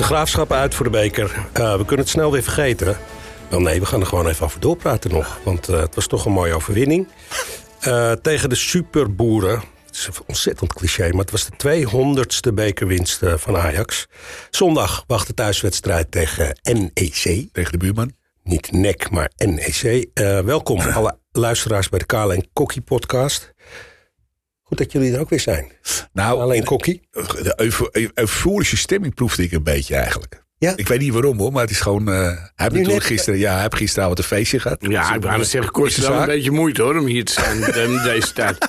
graafschap uit voor de beker. Eh, we kunnen het snel weer vergeten. Wel nee, we gaan er gewoon even over doorpraten nog. Want eh, het was toch een mooie overwinning. Eh, tegen de superboeren. Het is een ontzettend cliché, maar het was de 200ste bekerwinst eh, van Ajax. Zondag wacht de thuiswedstrijd tegen NEC. Tegen de buurman. Niet NEC, maar NEC. Eh, welkom alle luisteraars bij de Kale en Kokkie podcast. Goed dat jullie er ook weer zijn. Nou, Alleen Kokkie. de eufo- eu- euforische stemming proefde ik een beetje eigenlijk. Ja? Ik weet niet waarom hoor, maar het is gewoon... eh, hij heeft natuurlijk net- gisteren, ja, hij heeft gisteravond een feestje gehad. Ja, ik wou net zeggen, kost de wel een zaak. beetje moeite hoor, om hier te zijn in deze tijd.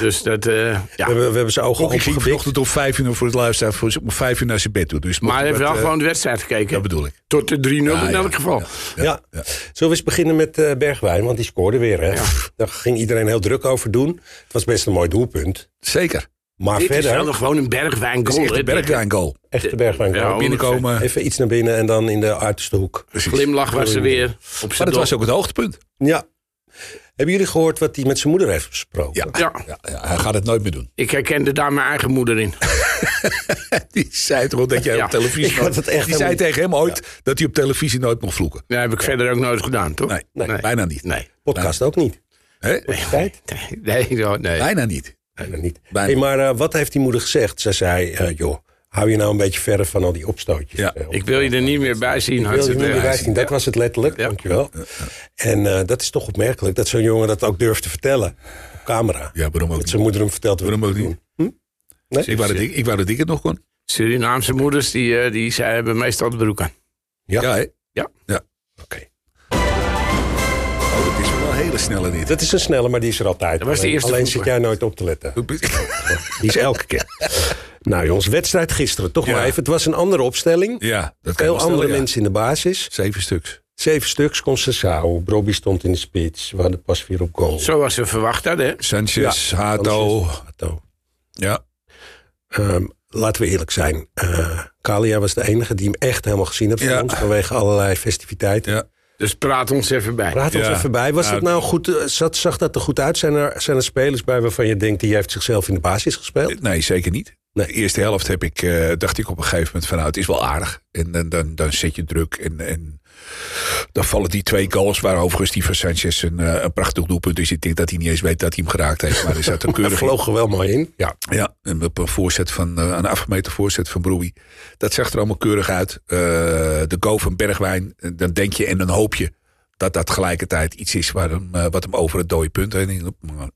Dus dat, eh, We, ja. hebben, we hebben zijn ogen Kokkie ging opgebikt. vanochtend om vijf uur voor het luisteren, voor om vijf uur naar zijn bed toe. Dus mocht Maar hij heeft wat, wel eh, gewoon de wedstrijd gekeken. Dat bedoel ik. Tot de 3-0 Ja, in ja, elk geval. Ja. Zullen we eens beginnen met eh, Bergwijn? Want die scoorde weer. Hè? Daar ging iedereen heel druk over doen. Het was best een mooi doelpunt. Zeker. Maar Dit is verder, wel gewoon een bergwijn Het is goal. echt hè. een Bergwijn goal. echt de Bergwijn. Ja, eh, kwam. Binnenkomen. Even iets naar binnen en dan in de uiterste hoek. Glimlach was er weer. Op Maar zijn dat was dop. ook het hoogtepunt. Ja. Hebben jullie gehoord wat hij met zijn moeder heeft besproken? Ja. Ja, Ja, ja, hij gaat het nooit meer doen. ik herkende daar mijn eigen moeder in. Die zei toch al dat jij Ja. op televisie... Ik had het echt die zei helemaal- tegen hem ooit dat hij op televisie nooit mocht vloeken. Dat heb ik verder ook nooit gedaan, toch? Nee, Nee. bijna niet. Nee. Podcast ook niet. Hè? Tijd? Nee, nee, nee. Bijna niet. Bijna niet. Bijna. Hey, maar eh, wat heeft die moeder gezegd? Zij zei, eh, joh, hou je nou een beetje verder van al die opstootjes. Ja. Eh, Ik wil je er niet meer bij zien. Ik wil je hartstikke niet meer leuk. wijzen. Dat was het letterlijk, Ja. dankjewel. En eh, dat is toch opmerkelijk dat zo'n jongen dat ook durft te vertellen. Op camera. Ja, waarom ook Dat niet? zijn moeder hem vertelt. Waarom ook niet? Nee? Ik wou dat ik, ik, wou dat ik het nog kon. Surinaamse moeders, die, eh, die zij hebben meestal de broek aan. Ja. Ja, hè? Ja. ja. Oké. Oh, dat is wel een hele snelle dit. Dat is een snelle, maar die is er altijd. Dat was de Alleen- eerste Alleen zit voetbal. jij nooit op te letten. Die is elke keer. nou jongens, wedstrijd gisteren. Toch Ja. maar even. Het was een andere opstelling. Ja, dat kan je Veel wel stellen, andere ja. mensen in de basis. Zeven stuks. Zeven stuks, Concessao. Brobby stond in de spits. We hadden pas weer op goal. Zoals ze verwacht hadden, hè? Sanchez, Hato. Hato. Ja. Ehm, laten we eerlijk zijn. Eh Kalia was de enige die hem echt helemaal gezien heeft van Ja. ons. Vanwege allerlei festiviteiten. ja. Dus praat ons even bij. Praat ons Ja. even bij. Was Nou, dat nou een goed, eh, zat, zag dat er goed uit? Zijn er, zijn er spelers bij waarvan je denkt... die heeft zichzelf in de basis gespeeld? Nee, zeker niet. Nee. De eerste helft heb ik, eh, dacht ik op een gegeven moment van nou, het is wel aardig. En, dan dan, dan zet je druk en, en dan vallen die twee goals waar overigens die van Sanchez een, eh, een prachtig doelpunt is. Ik denk dat hij niet eens weet dat hij hem geraakt heeft, maar hij zat er Hij keurig in. vloog er wel mooi in. Ja. Ja, en op een voorzet van eh, een afgemeten voorzet van Broei. Dat zag er allemaal keurig uit. Eh, de go van Bergwijn. eh, Dan denk je en dan hoop je dat dat tegelijkertijd iets is waar hem, eh, wat hem over het dode punt heen hielp. Maar-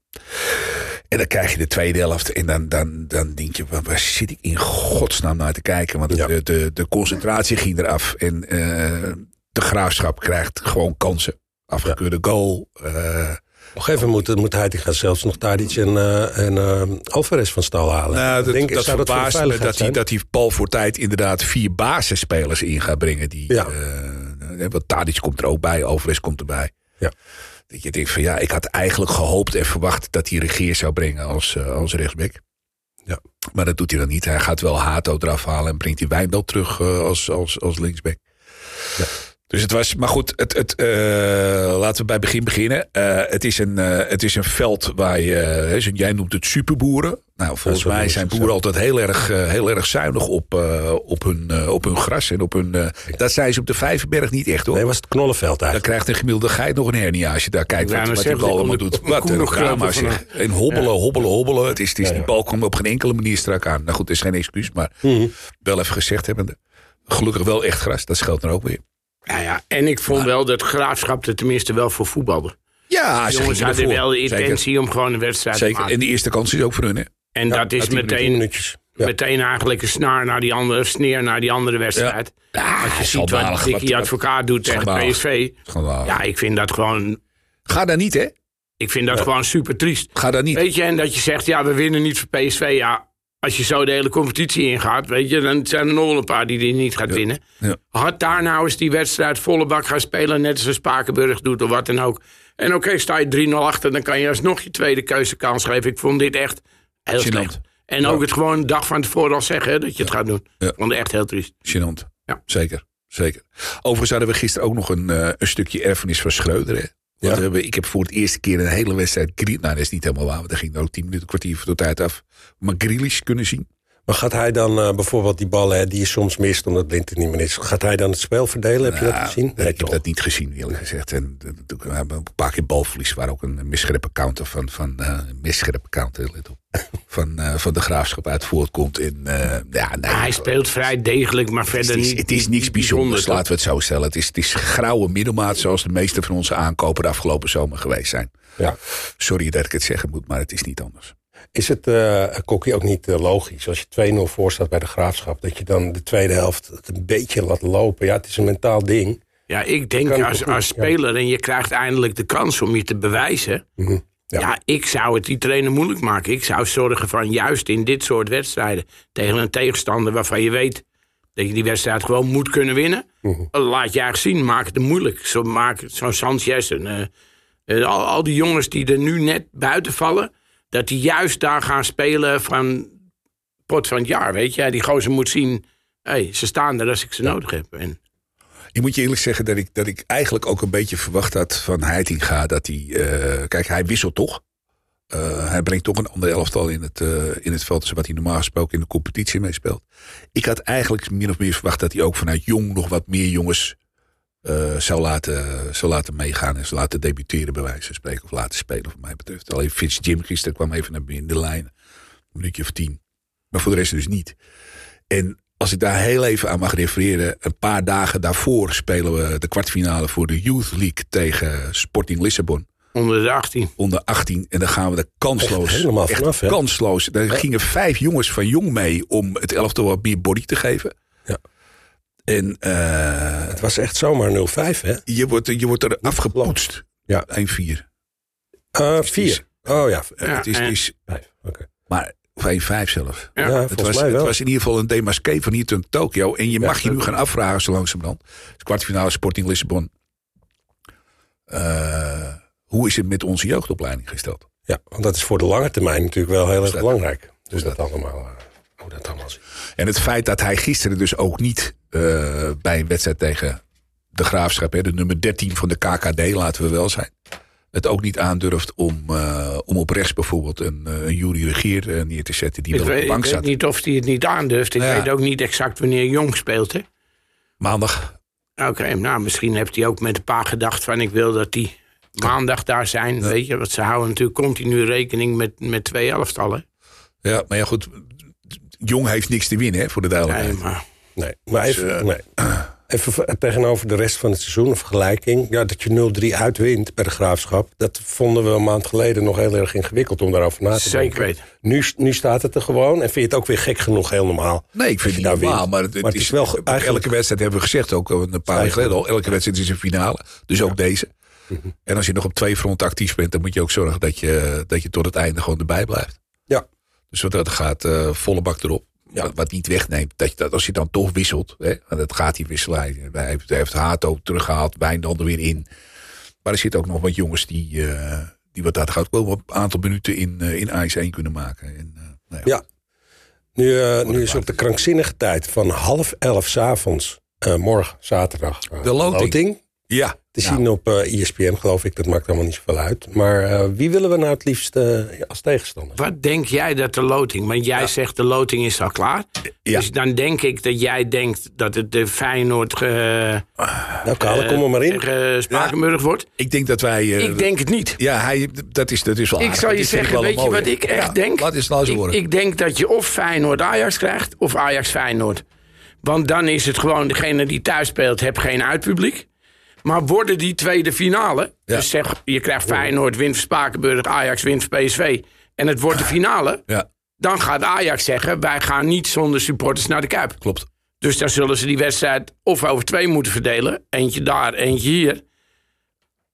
En dan krijg je de tweede helft. En dan, dan, dan denk je, waar, waar zit ik in godsnaam naar te kijken? Want Ja. de, de, de concentratie ging eraf. En eh, de graafschap krijgt gewoon kansen. Afgekeurde goal. eh, Nog even moet, moet Heitinga zelfs nog daar iets en, eh en eh, Alvarez van stal halen. Nou, Ik dat, denk, dat zou dat voor de verbaast me veiligheid dat hij, zijn? dat hij Paul voor tijd inderdaad vier basisspelers in gaat brengen. Die, Ja. eh, eh, want Tadic komt er ook bij, Alvarez komt erbij. Ja. Dat je denkt van ja, ik had eigenlijk gehoopt en verwacht dat hij regeer zou brengen als, eh, als rechtsback. Ja. Maar dat doet hij dan niet. Hij gaat wel Hato eraf halen en brengt die Wijndal terug eh, als, als, als linksback. Dus het was, maar goed, het, het, eh, laten we bij het begin beginnen. Eh, het, is een, eh, het is een veld waar je, eh, hè, zo- jij noemt het superboeren. Nou, volgens zo mij noemen ze zijn het, boeren ja. altijd heel erg, eh, heel erg zuinig op, eh, op, hun, eh, op hun gras. En op hun, eh, dat zijn ze op de Vijverberg niet echt hoor. Nee, was het knollenveld dan eigenlijk. krijgt een gemiddelde geit nog een hernia als je daar kijkt Ja, wat, maar wat die zeg, bal die allemaal kon- doet. kon Wat een nog drama kruipen zeg. En hobbelen, hobbelen, hobbelen. Het is, het is, ja. Die bal komt op geen enkele manier strak aan. Nou goed, er is geen excuus, maar Mhm. wel even gezegd hebbende. Gelukkig wel echt gras, dat scheelt er ook weer. Ja, ja. En ik vond wel dat Graafschap er tenminste wel voor voetbalde. Ja, De ze jongens gingen hadden ervoor. wel de Zeker, intentie om gewoon een wedstrijd Zeker. te maken. En de eerste kans is ook voor hun, hè? En dat is had die meteen, Tien minuutjes. Ja. meteen eigenlijk een snaar naar die andere, sneer naar die andere wedstrijd. Ja, Als je ziet wat Dickie Advocaat doet tegen schandalig. PSV. Ja, ik vind dat gewoon, Ga daar niet, hè? ik vind dat gewoon super triest. Ga daar niet. Weet je, en dat je zegt, ja, we winnen niet voor PSV. Ja, als je zo de hele competitie ingaat, weet je, dan zijn er nog wel een paar die die niet gaat winnen. Ja. Had daar nou eens die wedstrijd volle bak gaan spelen, net als een Spakenburg doet of wat dan ook. En oké, sta je 3-0 achter, dan kan je alsnog je tweede keuzekans geven. Ik vond dit echt heel Gênant. slecht. En ook het gewoon een dag van tevoren al zeggen hè, dat je het gaat doen. Ja. Ik vond het echt heel triest. Gênant. Ja. Zeker. Zeker. Overigens hadden we gisteren ook nog een, eh, een stukje erfenis van Schreuder, hè? Want Ja. we hebben, ik heb voor het eerste keer een hele wedstrijd... Griel- Nou, dat is niet helemaal waar, want er ging er ook tien minuten, kwartier voor de tijd af. Maar Grealish kunnen zien. Maar gaat hij dan eh, bijvoorbeeld die ballen hè, die je soms mist omdat Blind er niet meer is, gaat hij dan het spel verdelen? Heb je dat Ja, gezien? Ah, ik heb Nou, dat niet gezien, eerlijk gezegd. En eh, toen hebben we een paar keer balverlies, waar ook een misgrepen counter van, van eh, een misgrepen counter, let op, van, eh, van de graafschap uit voortkomt. In, eh, ja, nee, Hij speelt vrij degelijk, maar het verder is, niet. het is niks bijzonders, laten we het zo stellen. Het is, het is grauwe middelmaat, zoals de meeste van onze aankopen de afgelopen zomer geweest zijn. Ja. Sorry dat ik het zeggen moet, maar het is niet anders. Is het, eh Kokkie, ook niet eh, logisch als je 2-0 voor staat bij de graafschap, dat je dan de tweede helft het een beetje laat lopen? Ja, het is een mentaal ding. Ja, ik denk Kan als, toch niet, als ja. speler en je krijgt eindelijk de kans om je te bewijzen. Mhm. Ja. Ja. ik zou het die trainer moeilijk maken. Ik zou zorgen van juist in dit soort wedstrijden tegen een tegenstander waarvan je weet dat je die wedstrijd gewoon moet kunnen winnen. Mhm. Eh, Laat je eigenlijk zien, maak het moeilijk. Zo maak het- zo'n Sanchez en eh, eh, al, al die jongens die er nu net buiten vallen, dat die juist daar gaan spelen van pot van het jaar, weet je. Die gozer moet zien, hey, ze staan er als ik ze nodig heb. En, Ik moet je eerlijk zeggen dat ik, dat ik eigenlijk ook een beetje verwacht had van Heitinga. Dat hij, eh, kijk, hij wisselt toch. Eh, hij brengt toch een ander elftal in het, eh, in het veld. Dus wat hij normaal gesproken in de competitie meespeelt. Ik had eigenlijk min of meer verwacht dat hij ook vanuit jong nog wat meer jongens eh, zou, laten, zou laten meegaan. En zou laten debuteren, bij wijze van spreken. Of laten spelen, wat mij betreft. Alleen Fitz Jim gisteren kwam even naar binnen de lijn. Een minuutje of tien. Maar voor de rest dus niet. En als ik daar heel even aan mag refereren. Een paar dagen daarvoor spelen we de kwartfinale voor de Youth League tegen Sporting Lissabon. Onder de 18. Onder 18. En dan gaan we er kansloos. Echt helemaal vanaf, hè? kansloos. Daar gingen vijf jongens van jong mee om het elftal wat meer body te geven. Ja. En eh, Het was echt zomaar 0-5, hè? Eh, je, wordt, je wordt er afgepoetst. Ja. 1-4. Eh vier. Oh ja, Eh, Ja, het is, en- is vijf. Oké. maar, of 1-5 zelf. Ja, Ja, Het volgens was, mij het wel. was in ieder geval een demasqué van hier tot Tokio. En je mag je nu gaan afvragen zo langzamerhand. Het kwartfinale Sporting Lissabon. Eh, hoe is het met onze jeugdopleiding gesteld? Ja, want dat is voor de lange termijn natuurlijk wel heel erg dat- belangrijk. Dus dat allemaal, eh, hoe dat allemaal zit. En het feit dat hij gisteren dus ook niet eh, bij een wedstrijd tegen de Graafschap... Hè, de nummer 13 van de KKD, laten we wel zijn... het ook niet aandurft om, eh, om op rechts bijvoorbeeld een, eh, een Jury Regier eh, neer te zetten... die Ik wel op weet, de bank ik weet zat. niet of hij het niet aandurft. Ik Ja. weet ook niet exact wanneer Jong speelt. hè. Maandag. Oké, nou misschien heeft hij ook met een paar gedacht van... ik wil dat die maandag daar zijn, weet je. Want ze houden natuurlijk continu rekening met, met twee elftallen. Ja, maar ja goed... Jong heeft niks te winnen, hè, voor de Nee, duidelijkheid. maar Nee, maar Dus, even, eh, nee. even ver- tegenover de rest van het seizoen een vergelijking. Ja, dat je 0-3 uitwint bij de Graafschap. Dat vonden we een maand geleden nog heel erg ingewikkeld om daarover na te denken. zeker weten. Nu, nu staat het er gewoon. En vind je het ook weer gek genoeg heel normaal? Nee, ik vind je het daar niet normaal. wint. Maar het, het is, wel eigenlijk- elke wedstrijd hebben we gezegd, ook een paar jaar geleden al. Elke wedstrijd is een finale, dus ook deze. En als je nog op twee fronten actief bent, dan moet je ook zorgen dat je, dat je tot het einde gewoon erbij blijft. Ja, Dus wat dat gaat, eh, volle bak erop. Wat, wat niet wegneemt, dat, je, dat als je dan toch wisselt, hè, want dat gaat die wisselij. Hij heeft, hij heeft Hato teruggehaald, Wijndal er weer in. Maar er zitten ook nog wat jongens die, eh, die wat dat gaat, wel een aantal minuten in, eh, in IJs 1 kunnen maken. En, eh, nou ja. Ja. Nu, eh, nu is ook de krankzinnige tijd van half elf s'avonds, avonds, eh, morgen, zaterdag. eh, De loting. Ja, Te nou. zien op eh ESPN, geloof ik. Dat maakt allemaal niet zoveel uit. Maar eh, wie willen we nou het liefst eh, als tegenstander? Wat denk jij dat de loting... Want jij zegt de loting is al klaar. Ja. Dus dan denk ik dat jij denkt dat het de Feyenoord... Ge, Nou, Kale, kom er maar in. tegen Spakenburg wordt. ik denk dat wij... eh, Ik denk het niet. Ja, hij, dat, is, dat is wel Ik aardig. zal je Dit vind zeggen, wel weet een je mooie. wat ik echt Ja, denk? Laat eens nou eens ik, horen. ik denk dat je of Feyenoord-Ajax krijgt, of Ajax-Feyenoord. Want dan is het gewoon, degene die thuis speelt, heb geen uitpubliek. Maar worden die tweede finale, Ja. dus zeg, je krijgt Feyenoord, wint van Spakenburg, Ajax wint van PSV... en het wordt de finale, ja, dan gaat Ajax zeggen... wij gaan niet zonder supporters naar de Kuip. klopt. Dus dan zullen ze die wedstrijd of over twee moeten verdelen. Eentje daar, eentje hier.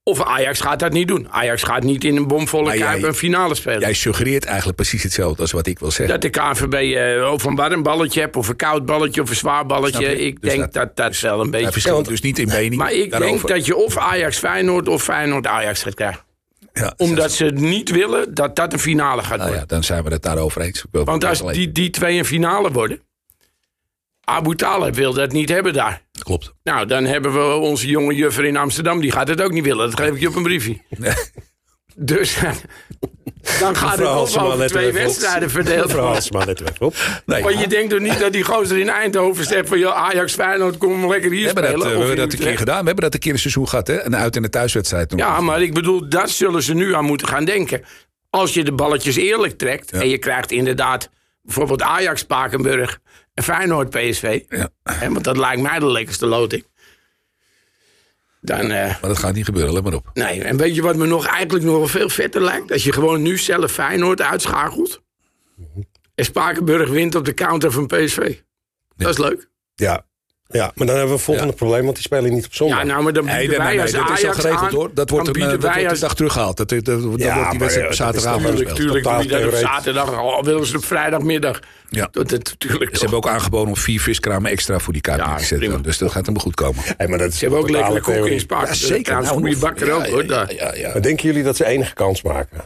Of Ajax gaat dat niet doen. Ajax gaat niet in een bomvolle Maar jij- Kuip een finale spelen. Jij suggereert eigenlijk precies hetzelfde als wat ik wil zeggen. Dat de KNVB eh, of een warm balletje hebt, of een koud balletje, of een zwaar Snap balletje. je? Ik Dus denk dat- dat dat, wel een Hij beetje... verschilt dus niet in mening maar ik daarover. denk dat je of Ajax Feyenoord of Feyenoord Ajax gaat krijgen. Ja, Omdat ze niet willen dat dat een finale gaat nou worden. ja, dan zijn we het daarover eens. Ik wil- Want als alleen- die, die twee een finale worden... Abu Talib wil dat niet hebben daar. Klopt. Nou, dan hebben we onze jonge juffer in Amsterdam. Die gaat het ook niet willen. Dat geef ik je op een briefje. Dus eh, Dan gaat het Mevrouw op Halsema, over let er twee even op. wedstrijden verdeeld Mevrouw worden. Halsema, let er even op. Nee, Want je denkt toch niet dat die gozer in Eindhoven zegt van... joh, Ajax, Feyenoord, kom lekker hier we hebben spelen. dat, eh, we of hebben in dat een keer Utrecht. gedaan. We hebben dat een keer een seizoen gehad, hè? Een uit- en een thuiswedstrijd. nog. Ja, maar ik bedoel, daar zullen ze nu aan moeten gaan denken. Als je de balletjes eerlijk trekt en je krijgt inderdaad bijvoorbeeld Ajax, Spakenburg en Feyenoord, PSV. Ja. Hè, want dat lijkt mij de lekkerste loting. Dan, eh, maar dat gaat niet gebeuren, let maar op. nee. En weet je wat me nog eigenlijk nog wel veel vetter lijkt? Dat je gewoon nu zelf Feyenoord uitschakelt. En Spakenburg wint op de counter van PSV. Dat is leuk. Ja. ja, maar dan hebben we het volgende probleem, want die spelen niet op zondag. Ja, nou, maar dan bieden Oh. Nee, nee, nee, wij nee, als dat Ajax is al geregeld aan, hoor. Dat wordt, dan een, eh, bieden dat wordt wij een als dag teruggehaald. Dat, dat, dat, dan Ja, wordt maar, die wedstrijd eh, op dat is zaterdagavond natuurlijk- Tuurlijk, gespeeld. Totaal tuurlijk. Doe je dat op theoretisch. zaterdag, al willen ze op vrijdagmiddag. Ja. Dat, dat, tuurlijk. Ze hebben ook aangeboden om vier viskramen extra voor die kaart Ja, neer te zetten. prima. Dus dat gaat hem goed komen. Hey, maar dat is Ze hebben ook een totale lekkere koeken in theorie. Spaak. Trouwens, Nou, goede nog- bakker ja, ook, hoor. Ja, daar. ja, ja. Maar denken jullie dat ze enige kans maken?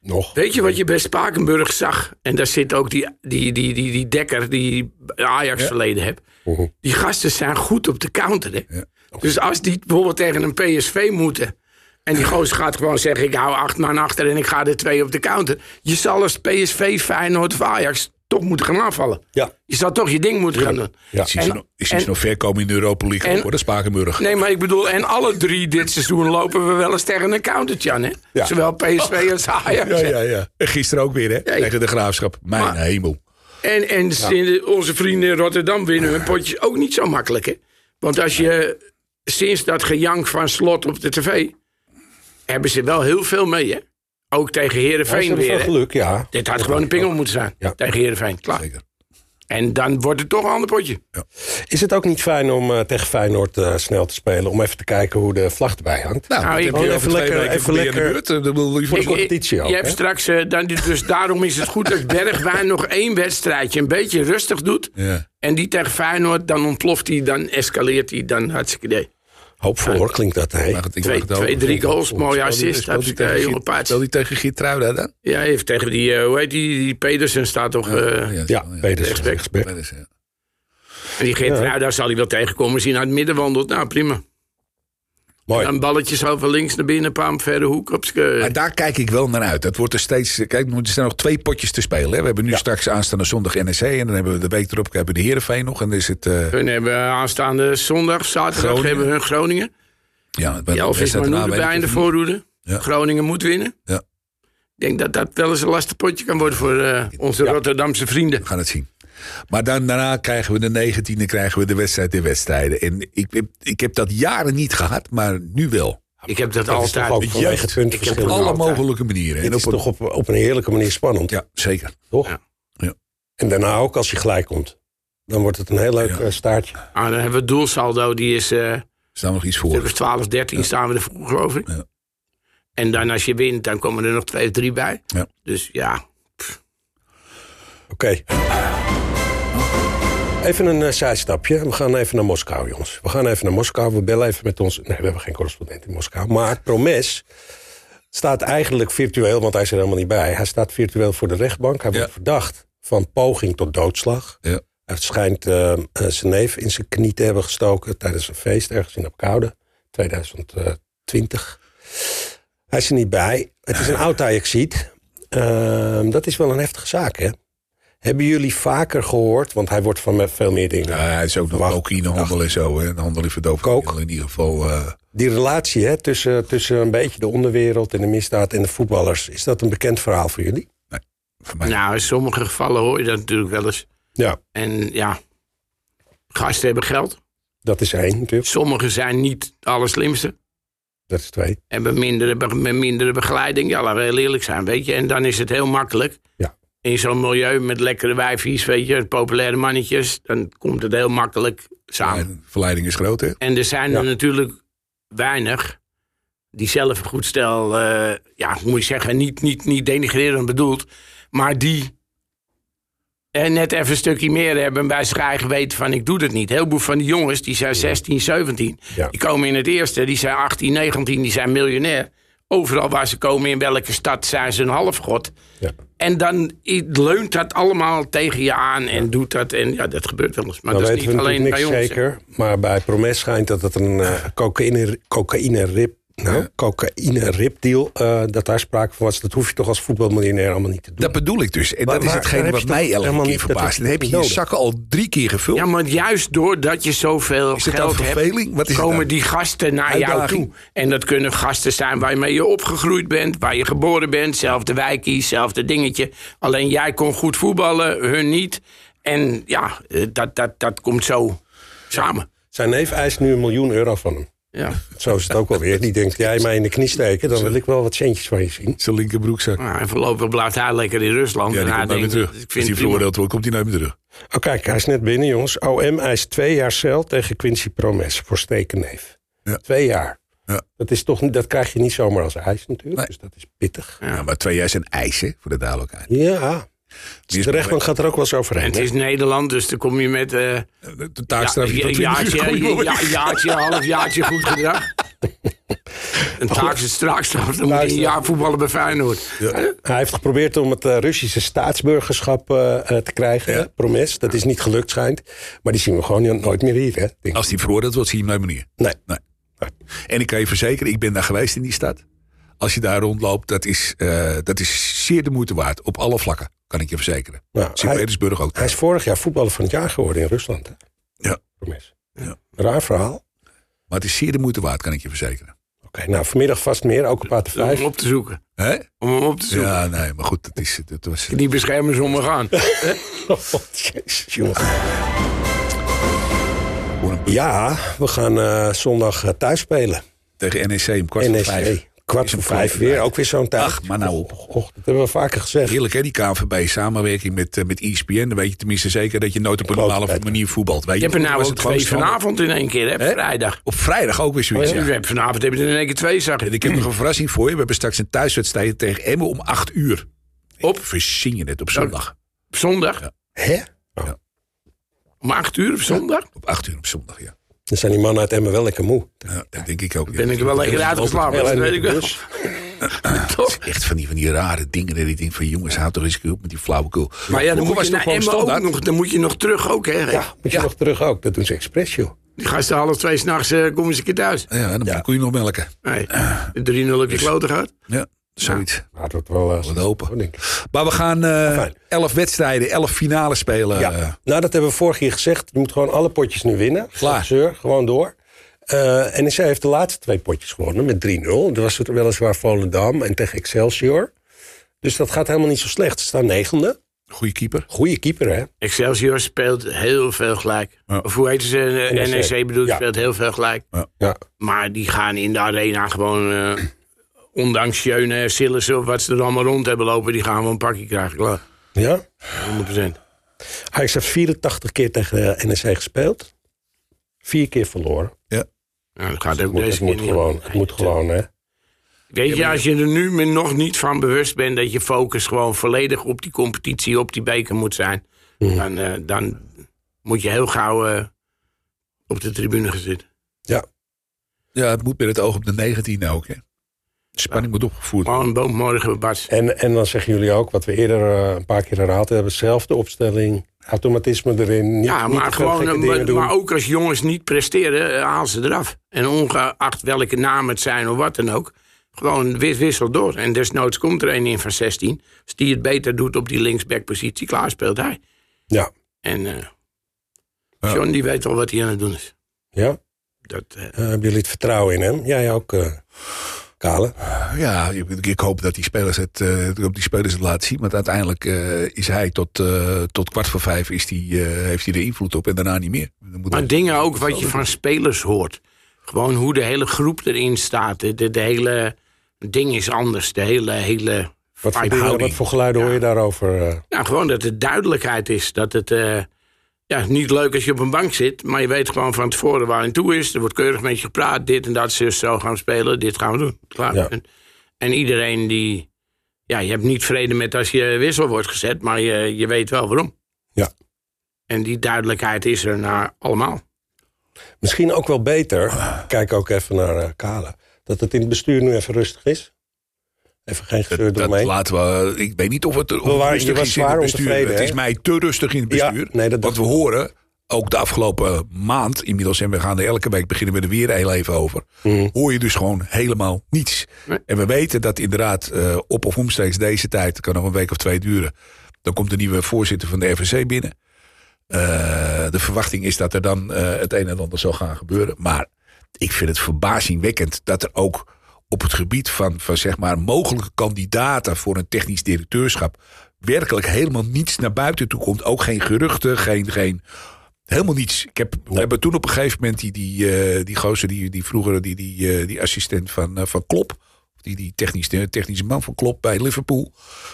Nog? Weet je wat je bij Spakenburg zag? En daar zit ook die, die, die, die, die dekker die Ajax verleden hebt. Mhm. Die gasten zijn goed op de counter. Hè? Dus als die bijvoorbeeld tegen een PSV moeten. En die gozer gaat gewoon zeggen: ik hou acht man achter en ik ga er twee op de counter. Je zal als PSV, Feyenoord of Ajax toch moeten gaan aanvallen. Ja. Je zal toch je ding moeten gaan doen. Ik zie ze En- nog- Ik zie ze en- nog ver komen in de Europa League. ook, en- hoor, de Spakenburg. Nee, maar ik bedoel, en alle drie dit seizoen lopen we wel eens tegen een countertje aan, hè? Ja. Zowel PSV als Ajax. Ja, ja, ja. En gisteren ook weer, hè? ja. Tegen de graafschap. Mijn Maar- hemel. En, en sinds onze vrienden in Rotterdam winnen hun potjes ook niet zo makkelijk, hè? Want als je sinds dat gejank van Slot op de tv... hebben ze wel heel veel mee, hè? Ook tegen Ja, ze Heerenveen hebben weer, veel hè? geluk, ja. Dit had gewoon een pingel moeten zijn Ja. tegen Heerenveen, klaar. Zeker. En dan wordt het toch een ander potje. Is het ook niet fijn om eh, tegen Feyenoord eh, snel te spelen? Om even te kijken hoe de vlag erbij hangt? Nou, Nou, dat heb ik- je Gewoon over even twee lekker- weken even weer in de lekker- buurt. Eh, dat wil je voor- Ik- voor- competitie ook, Je hebt hè? straks, eh, dan, dus daarom is het goed dat Bergwijn nog één wedstrijdje een beetje rustig doet. Ja. En die tegen Feyenoord, dan ontploft hij, dan escaleert hij, dan hartstikke idee. Hoopvol nou, hoor, klinkt dat, hè? Maar goed, ik Twee, mag het ook. twee drie goals, mooie Speelt die- assist. speelt die Hartstikke tegen jonge Geert- paard. Speelt die tegen Geertruida dan? Ja, hij heeft tegen die, eh, hoe heet die, die Pedersen staat toch. eh, Ja, Pedersen. Rechtsback. rechtsback. Pedersen, ja. en die Geert daar zal hij wel tegenkomen zien uit het midden wandelt. Nou, prima. Mooi. Dan balletjes over links naar binnen, een paar verre hoek op z'n- Maar daar kijk ik wel naar uit. Dat wordt er steeds. eh, Kijk, er zijn nog twee potjes te spelen. Hè. We hebben nu straks aanstaande zondag NEC. En dan hebben we de week erop hebben we de Herenveen nog. En dan is het. eh, Hun hebben aanstaande zondag, zaterdag Groningen. hebben hun Groningen. ja, Ja, of is Manu erbij in de voorroede. Ja. Groningen moet winnen. Ja. Ik denk dat dat wel eens een lastig potje kan worden voor eh, onze Rotterdamse vrienden. We gaan het zien. Maar dan, daarna krijgen we de negentiende, krijgen we de wedstrijd in wedstrijden. En ik, ik, ik heb dat jaren niet gehad, maar nu wel. Ik heb dat, Dat is altijd. toch ook vanwege het Ik puntenverschil. heb Alle altijd. mogelijke manieren. Dit En is op een- toch op, op een heerlijke manier spannend, ja, zeker. toch? Ja. Ja. En daarna ook als je gelijk komt. Dan wordt het een heel leuk Ja. eh, staartje. Ah, dan hebben we het doelsaldo, die is eh Is daar nog iets stuk of voor? 12, 13 staan we er voor, geloof ik. Ja. En dan als je wint, dan komen er nog twee of drie bij. Ja. Dus ja, Oké. Even een eh, zijstapje. We gaan even naar Moskou, jongens. We gaan even naar Moskou. We bellen even met ons. Nee, we hebben geen correspondent in Moskou. Maar Promes staat eigenlijk virtueel, want hij is er helemaal niet bij. Hij staat virtueel voor de rechtbank. Hij wordt Ja. verdacht van poging tot doodslag. Ja. Het schijnt eh, eh, zijn neef in zijn knie te hebben gestoken tijdens een feest ergens in Apkoude, 2020. Hij is er niet bij. Het is een oud Ajaxiet. Ehm, dat is wel een heftige zaak, hè? Hebben jullie vaker gehoord, want hij wordt van me- veel meer dingen. Ja, hij is ook nog Wacht. cocaïnehandel en zo. Hè. Een handel in verdoving. Kook. In ieder geval. eh, Die relatie hè, tussen, tussen een beetje de onderwereld en de misdaad en de voetballers, is dat een bekend verhaal voor jullie? voor mij. nou, in sommige gevallen hoor je dat natuurlijk wel eens. Ja. En ja, gasten hebben geld. Dat is één natuurlijk, Sommigen zijn niet de allerslimste. dat is twee. Hebben mindere, be- met mindere begeleiding. Ja, laten we heel eerlijk zijn, weet je. En dan is het heel makkelijk. Ja. In zo'n milieu met lekkere wijfjes, weet je, populaire mannetjes. Dan komt het heel makkelijk samen. verleiding- Verleiding is groot, hè? En er zijn Ja. er natuurlijk weinig die zelf een goed stel, eh, ja, hoe moet je zeggen, niet, niet, niet denigrerend bedoeld, maar die er net even een stukje meer hebben en bij zich eigen weten van ik doe dat niet. Heel veel van die jongens, die zijn 16, 17, Ja. die komen in het eerste, die zijn 18, 19, die zijn miljonair. Overal waar ze komen, in welke stad, zijn ze een halfgod. Ja. En dan i- leunt dat allemaal tegen je aan en doet dat. En ja, dat gebeurt wel eens. Maar Dan dat is weten we niet alleen natuurlijk bij niks ons. hè. zeker. Maar bij Promes schijnt dat het een eh cocaïne, cocaïne rib Nou, cocaïne, ripdeal, eh, dat daar sprake van was. Dat hoef je toch als voetbalmiljonair allemaal niet te doen. Dat bedoel ik dus. En Maar- dat is maar daar hetgene heb wat je toch mij elke helemaal keer niet- dat verbaast. heb je Dan heb niet je je nodig. zakken al drie keer gevuld. Ja, maar juist doordat je zoveel het geld dan verveling? Wat is hebt, het komen dan? die gasten naar jou Uitdaging? toe. En dat kunnen gasten zijn waarmee je opgegroeid bent, waar je geboren bent, zelfde wijkie, zelfde dingetje. Alleen jij kon goed voetballen, hun niet. En ja, eh, dat, dat, dat komt zo samen. Zijn neef eist nu een miljoen euro van hem. Ja. Zo is het ook wel weer. Die denkt, jij mij in de knie steken, dan wil ik wel wat centjes van je zien. Zijn linkerbroekzak. Nou, en voorlopig blijft hij lekker in Rusland. Ja, en die hij komt nooit meer denkt, terug. ik Als vind het die prima. veroordeeld wordt, komt hij nooit meer terug. Oh kijk, hij is net binnen jongens. OM eist twee jaar cel tegen Quincy Promes voor stekenneef. Ja. Twee jaar. Ja. Dat, is toch, niet- dat krijg je niet zomaar als ijs natuurlijk, Nee. dus dat is pittig. Ja, maar twee jaar zijn eisen voor de duidelijkheid. Ja, Die is- de rechtbank gaat er ook wel eens En overheen. het is Nederland, dus dan kom je met eh De ja, taakstraf een tot 20 uur. jaartje, Kom je ja, wel ja, weg. jaartje, half jaartje goed gedrag. Een taakstraatstraf, dan moet je een Luister. jaar voetballen bij Feyenoord. Hij heeft geprobeerd om het eh, Russische staatsburgerschap eh, eh, te krijgen, Ja. hè, Promes. Dat is niet gelukt schijnt. Maar die zien we gewoon niet- nooit meer hier. Hè? Denk- Als die veroordeeld wordt, zie je hem nooit meer. Nee. Nee. Nee. En ik kan je verzekeren, ik ben daar geweest in die stad. Als je daar rondloopt, dat is, eh, dat is zeer de moeite waard. Op alle vlakken, kan ik je verzekeren. Nou, hij, Sint-Petersburg ook. hij is vorig jaar voetballer van het jaar geworden in Rusland. Hè? Ja. Promes. Ja. Raar verhaal. Maar het is zeer de moeite waard, kan ik je verzekeren. Oké, nou vanmiddag vast meer, ook een paar te Om vijf. hem op te zoeken. Hè? Om hem op te zoeken. Ja, nee, maar goed, dat is, dat was, Die beschermers om me gaan. Jezus, jongen. voor een- Ja, we gaan eh, zondag eh, thuis spelen. tegen NEC om kwart voor NSC. vijf. E. Kwart Is voor een vijf weer, ook weer zo'n tijd. Ach, maar nou op. Och, dat hebben we vaker gezegd. Heerlijk hè, die KNVB, samenwerking met, eh, met ESPN. Dan weet je tenminste zeker dat je nooit op een Klote normale tijd. manier voetbalt. Weet Je hebt er nou was ook het gewoon twee Oh, standaard. vanavond in één keer, hè? Hè? Vrijdag. Op vrijdag ook weer zoiets, Je ja. hebt vanavond heb je er in één keer twee, zag En je. ik heb nog een verrassing voor je. We hebben straks een thuiswedstrijd tegen Emmen om 8 uur. Op? Oh. Verzin je het op zondag. Op zondag. Ja. Hè? Om acht uur op zondag. Op 8 uur op zondag, ja. Dan zijn die mannen uit Emmen wel lekker moe. ja dat denk ik ook. Ben ik er wel lekker uitgeslapen. Heel erg Ah, Dat weet ik wel. dus. Toch? Echt van die, van die rare dingen. Dat ik denk van jongens, houd toch eens een keer op met die flauwekul. Maar ja, dan Vroeger moet, je toch naar gewoon Emmen ook standaard? nog, dan moet je nog terug ook, hè? Ja, moet je nog terug ook. Dat doen ze expres, joh. Die gasten half twee s'nachts eh komen ze een keer thuis. Ja, dan moet je koeien nog melken. Nee, de 3-0 op je klote gaat. Ja, zoiets. Maar het wordt wel... eh, Wat hopen. zo, denk ik. Maar we gaan Ah, eh Fijn. elf wedstrijden, elf finales spelen. Ja, eh. nou dat hebben we vorig jaar gezegd. Je moet gewoon alle potjes nu winnen. Klaar. Geen Zeur, gewoon door. Eh NEC heeft de laatste twee potjes gewonnen met 3-0. Dat was het weliswaar Volendam en tegen Excelsior. Dus dat gaat helemaal niet zo slecht. Ze staan negende. Goeie keeper. Goeie keeper, hè? Excelsior speelt heel veel gelijk. Ja. Of hoe heet ze? eh, NEC. NEC bedoel ik, Ja. speelt heel veel gelijk. Ja. Maar die gaan in de arena gewoon, eh, ondanks Jeune, Sillissen of wat ze er allemaal rond hebben lopen, die gaan wel een pakje krijgen. Klaar, ja. 100%. Ajax heeft 84 keer tegen eh, NEC gespeeld. Vier keer verloren. Nou, dat gaat ook Moet, deze het keer moet niet gewoon, om. het moet gewoon, hè? Weet je, als je er nu me- nog niet van bewust bent dat je focus gewoon volledig op die competitie, op die beker moet zijn, Mhm. dan, eh, dan moet je heel gauw eh, op de tribune gaan zitten. Ja. Ja, het moet met het oog op de 19 ook. Hè. De Spanning moet opgevoerd worden. Maar een boom morgen, Bas. En, en dan zeggen jullie ook, wat we eerder eh, een paar keer herhaald hebben, zelfde opstelling, automatisme erin. Niet, Ja, niet maar, te veel gewoon, gekke eh, dingen maar, doen. maar ook als jongens niet presteren, eh, haal ze eraf. En ongeacht welke naam het zijn of wat dan ook, gewoon wis- wissel door. En desnoods komt er een in van 16. Als die het beter doet op die linksbackpositie, klaar speelt hij. Ja. En eh, Ja. John die weet al wat hij aan het doen is. ja? Dat, eh, Eh, hebben jullie het vertrouwen in hem? Jij ook, eh Kale? Ja, ik, ik hoop dat die spelers, het, eh, ik hoop die spelers het laten zien. Want uiteindelijk eh, is hij tot, eh, tot kwart voor vijf is die, eh, heeft hij de invloed op en daarna niet meer. Dan moet Maar hij- dingen ook wat je van spelers hoort. Gewoon hoe de hele groep erin staat. De, de, de hele ding is anders. De hele, hele Wat voor, dingen- vibehouding. wat voor geluiden hoor je daarover? eh? Ja, Nou, gewoon dat het duidelijkheid is. Dat het eh, ja, niet leuk als je op een bank zit, maar je weet gewoon van tevoren waar je aan toe is. Er wordt keurig met je gepraat. Dit en dat, zus, zo gaan we spelen. Dit gaan we doen. Klaar. Ja. En, en iedereen die. Ja, je hebt niet vrede met als je wissel wordt gezet, maar je, je weet wel waarom. Ja. En die duidelijkheid is er naar allemaal. Misschien ook wel beter, kijk ook even naar eh, Kale, dat het in het bestuur nu even rustig is. Even geen gezeur Dat, dat eromheen. laten we, ik weet niet of het, of waren- het je rustig was is in het zwaar bestuur. ontevreden, Het is hè? mij te rustig in het Ja, bestuur. nee, dat want dacht we horen ook de afgelopen maand inmiddels, en we gaan er elke week beginnen we er weer heel even over, Mhm. hoor je dus gewoon helemaal niets. Nee. En we weten dat inderdaad eh, op of omstreeks deze tijd, kan nog een week of twee duren, dan komt de nieuwe voorzitter van de RVC binnen. Eh, de verwachting is dat er dan eh, het een en ander zal gaan gebeuren. Maar ik vind het verbazingwekkend dat er ook op het gebied van, van zeg maar mogelijke kandidaten voor een technisch directeurschap werkelijk helemaal niets naar buiten toe komt. Ook geen geruchten, geen, geen helemaal niets. Ik heb, We hebben toen op een gegeven moment die, die, eh, die gozer, die, die vroeger die, die, eh, die assistent van, eh, van Klop, die, die technisch, de technische man van Klop bij Liverpool,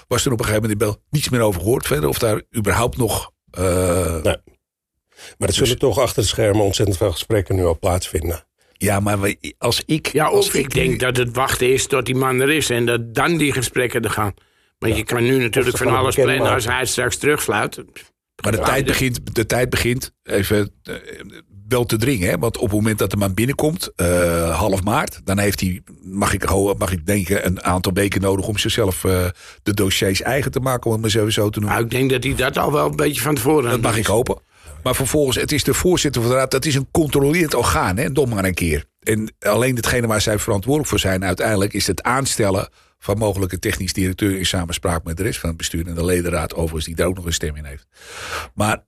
was er op een gegeven moment in Bel niets meer over gehoord verder. Of daar überhaupt nog... eh, Nee. Maar er zullen Dus- toch achter de schermen ontzettend veel gesprekken nu al plaatsvinden. Ja, maar we- als ik... Ja, als of ik nu- denk dat het wachten is tot die man er is en dat dan die gesprekken er gaan. Want je kan nu natuurlijk ze van gaan alles bekend plannen als maken. hij straks terugfluit. Maar de Ja, tijd dus- begint, de tijd begint even eh, wel te dringen. Hè? Want op het moment dat de man binnenkomt, eh, half maart, dan heeft hij, mag ik, ho- mag ik denken, een aantal weken nodig om zichzelf eh, de dossiers eigen te maken, om het maar zo, zo te noemen. Nou, ik denk dat hij dat al wel een beetje van tevoren aan Dat mag ik hopen. Maar vervolgens, het is de voorzitter van de raad. Dat is een controlerend orgaan, hè? dom maar een keer. En alleen datgene waar zij verantwoordelijk voor zijn... uiteindelijk is het aanstellen van mogelijke technisch directeur... in samenspraak met de rest van het bestuur en de ledenraad... overigens, die daar ook nog een stem in heeft. Maar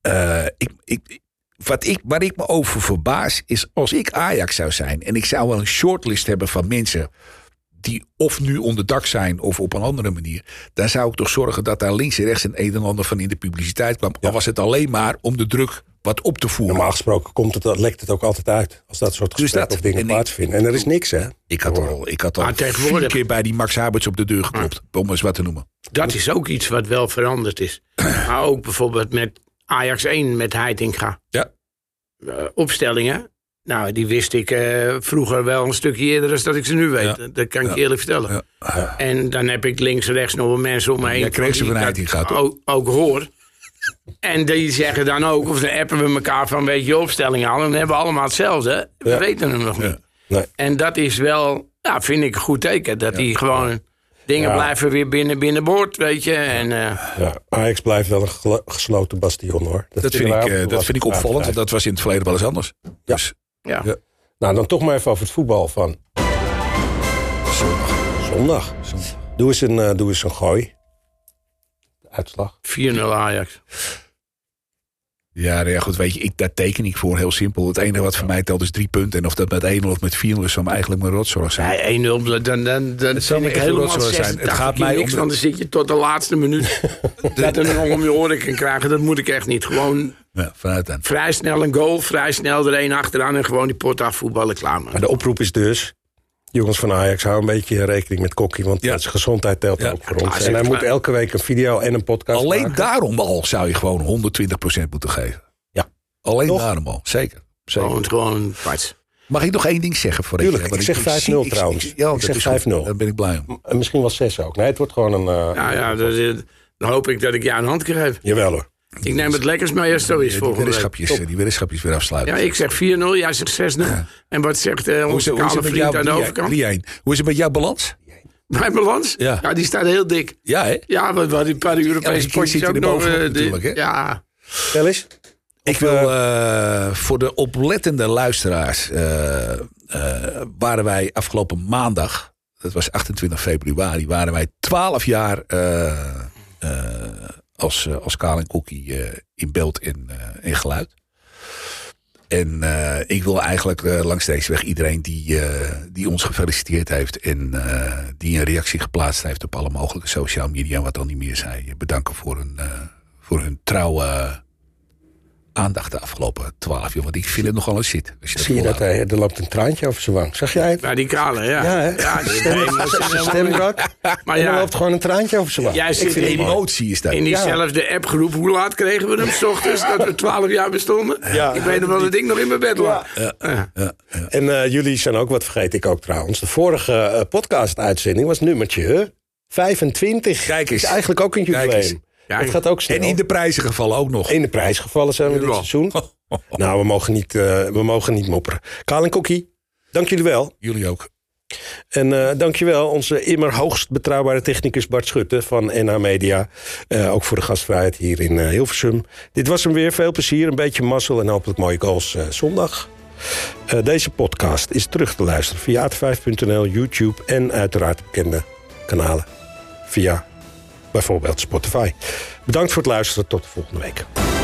eh, ik, ik, wat ik, waar ik me over verbaas is... als ik Ajax zou zijn en ik zou wel een shortlist hebben van mensen... die of nu onder dak zijn of op een andere manier... dan zou ik toch zorgen dat daar links en rechts... een een en ander van in de publiciteit kwam. Al was het alleen maar om de druk wat op te voeren. Normaal gesproken komt het, lekt het ook altijd uit. Als dat soort Dus gesprekken dat. of dingen En ik- plaatsvinden. En er is niks, hè? ik had al, ik had al Maar tegenwoordig- vier keer bij die Max Haberts op de deur geklopt. Om eens wat te noemen. Dat is ook iets wat wel veranderd is. maar ook bijvoorbeeld met Ajax 1 met Heitinga. Ja. Eh, opstellingen, nou, die wist ik eh, vroeger wel een stukje eerder dan dat ik ze nu weet. Ja. Dat- Dat kan ik Ja. je eerlijk vertellen. Ja. En dan heb ik links en rechts nog wel mensen om me heen. jij kreeg ze die van ik Heitinga, dat toch? Ook, ook hoor. En die zeggen dan ook, of dan appen we elkaar van weet je opstelling aan. En dan hebben we allemaal hetzelfde. We Ja. weten hem nog niet. Nee. En dat is wel, ja, vind ik een goed teken. Dat die gewoon dingen Ja. blijven weer binnen binnenboord, weet je. En, eh, Ja, Ajax blijft wel een gelo- gesloten bastion, hoor. Dat, vind vinden wij ik, ook eh, wel dat vind ik wat opvallend. want aangedreven. Dat was in het verleden wel eens anders. Ja. Dus, ja. Ja. Nou, dan toch maar even over het voetbal van zondag. zondag. Doe eens een, eh, doe eens een gooi. Uitslag. 4-0 Ajax. Ja, nou ja, goed, weet je, ik, daar teken ik voor heel simpel. Het enige wat voor mij telt is drie punten. En of dat met 1-0 of met 4-0 is, zal me eigenlijk mijn rotzorg zijn. Nee, 1-0, dan, dan, dan, dan Het zou me vind ik echt helemaal rot zullen zijn. 86 Het gaat mij keer om niks, de- want dan zit je tot de laatste minuut dat er nog om je oren kan krijgen. Dat moet ik echt niet. Gewoon Ja, vanuit dan. vrij snel een goal, vrij snel er één achteraan en gewoon die pot afvoetballen klaar. Maar man. de oproep is dus... Jongens van Ajax, hou een beetje rekening met Kokkie. Want Ja. zijn gezondheid telt Ja. Ah, ook voor ons. Ja, en hij zeker. moet elke week een video en een podcast Alleen maken. daarom al zou je gewoon 120% moeten geven. Ja. Alleen Toch? daarom al, zeker. zeker. Gewoon, gewoon pats. Mag ik nog één ding zeggen? Voor Tuurlijk, ik zeg 5-0 trouwens. Ik dat zeg is goed. 5-0. Daar ben ik blij om. En misschien wel zes ook. Nee, het wordt gewoon een... eh, Nou ja, dat is- dan hoop ik dat ik jou een hand geef. Jawel hoor. Ik neem het lekkers mee als het zo is Ja, die, volgende week. weddenschapjes, die weddenschapjes weer afsluiten. Ja, ik zeg 4-0, jij zegt 6-0. En wat zegt eh, hoe, is, onze hoe, is het kale met vriend jou, aan de overkant? 3-1. hoe is het met jouw balans? Mijn balans? Ja. Ja, die staat heel dik. Ja, hè? Ja, want we hadden een paar Europese Elke keer zit potjes hij ook er nog. bovenop eh, de- natuurlijk, hè? ja, Stel eens. Ik wil eh, voor de oplettende luisteraars. eh, eh, waren wij afgelopen maandag, dat was 28 februari, waren wij 12 jaar eh, eh, als, eh, als Kaal en Cookie eh, in beeld en eh, in geluid. En eh, ik wil eigenlijk eh, langs deze weg iedereen die, eh, die ons gefeliciteerd heeft en eh, die een reactie geplaatst heeft op alle mogelijke social media, en wat dan niet meer zei, bedanken voor hun, eh, voor hun trouwe aandacht de afgelopen twaalf jaar. Want ik vind het nogal een shit. als Zie je dat? volhoudt. Hij, eh, er loopt een traantje over zijn wang. Zag jij het? Ja, nou, die kale, Ja, ja. hè? ja die- Stem- nee, maar ze- Zijn stemrak. Ah, Maar En er ja, loopt gewoon een traantje over zijn wang. jij zit in, die- Emotie is dat. in diezelfde appgroep. Hoe laat kregen we hem? S ochtends dat we 12 jaar bestonden? Ja. Ik weet nog wel dat ik nog in mijn bed lag. Ja. En eh, jullie zijn ook, wat vergeet ik ook trouwens. De vorige eh, podcast-uitzending was nummertje 25. Kijk eens. Is eigenlijk ook een Kijk eens. jubileum. Ja, Het gaat ook snel. En in de prijzengevallen ook nog. In de prijs gevallen zijn we dit Ja. seizoen. Nou, we mogen niet, eh, we mogen niet mopperen. Kaal en Kokkie, dank jullie wel. Jullie ook. En eh, dankjewel, onze immer hoogst betrouwbare technicus Bart Schutte van NH Media. Eh, ook voor de gastvrijheid hier in eh, Hilversum. Dit was hem weer. Veel plezier, een beetje mazzel en hopelijk mooie goals eh, zondag. Eh, deze podcast is terug te luisteren via at5.nl, YouTube en uiteraard bekende kanalen via bijvoorbeeld Spotify. Bedankt voor het luisteren. Tot de volgende week.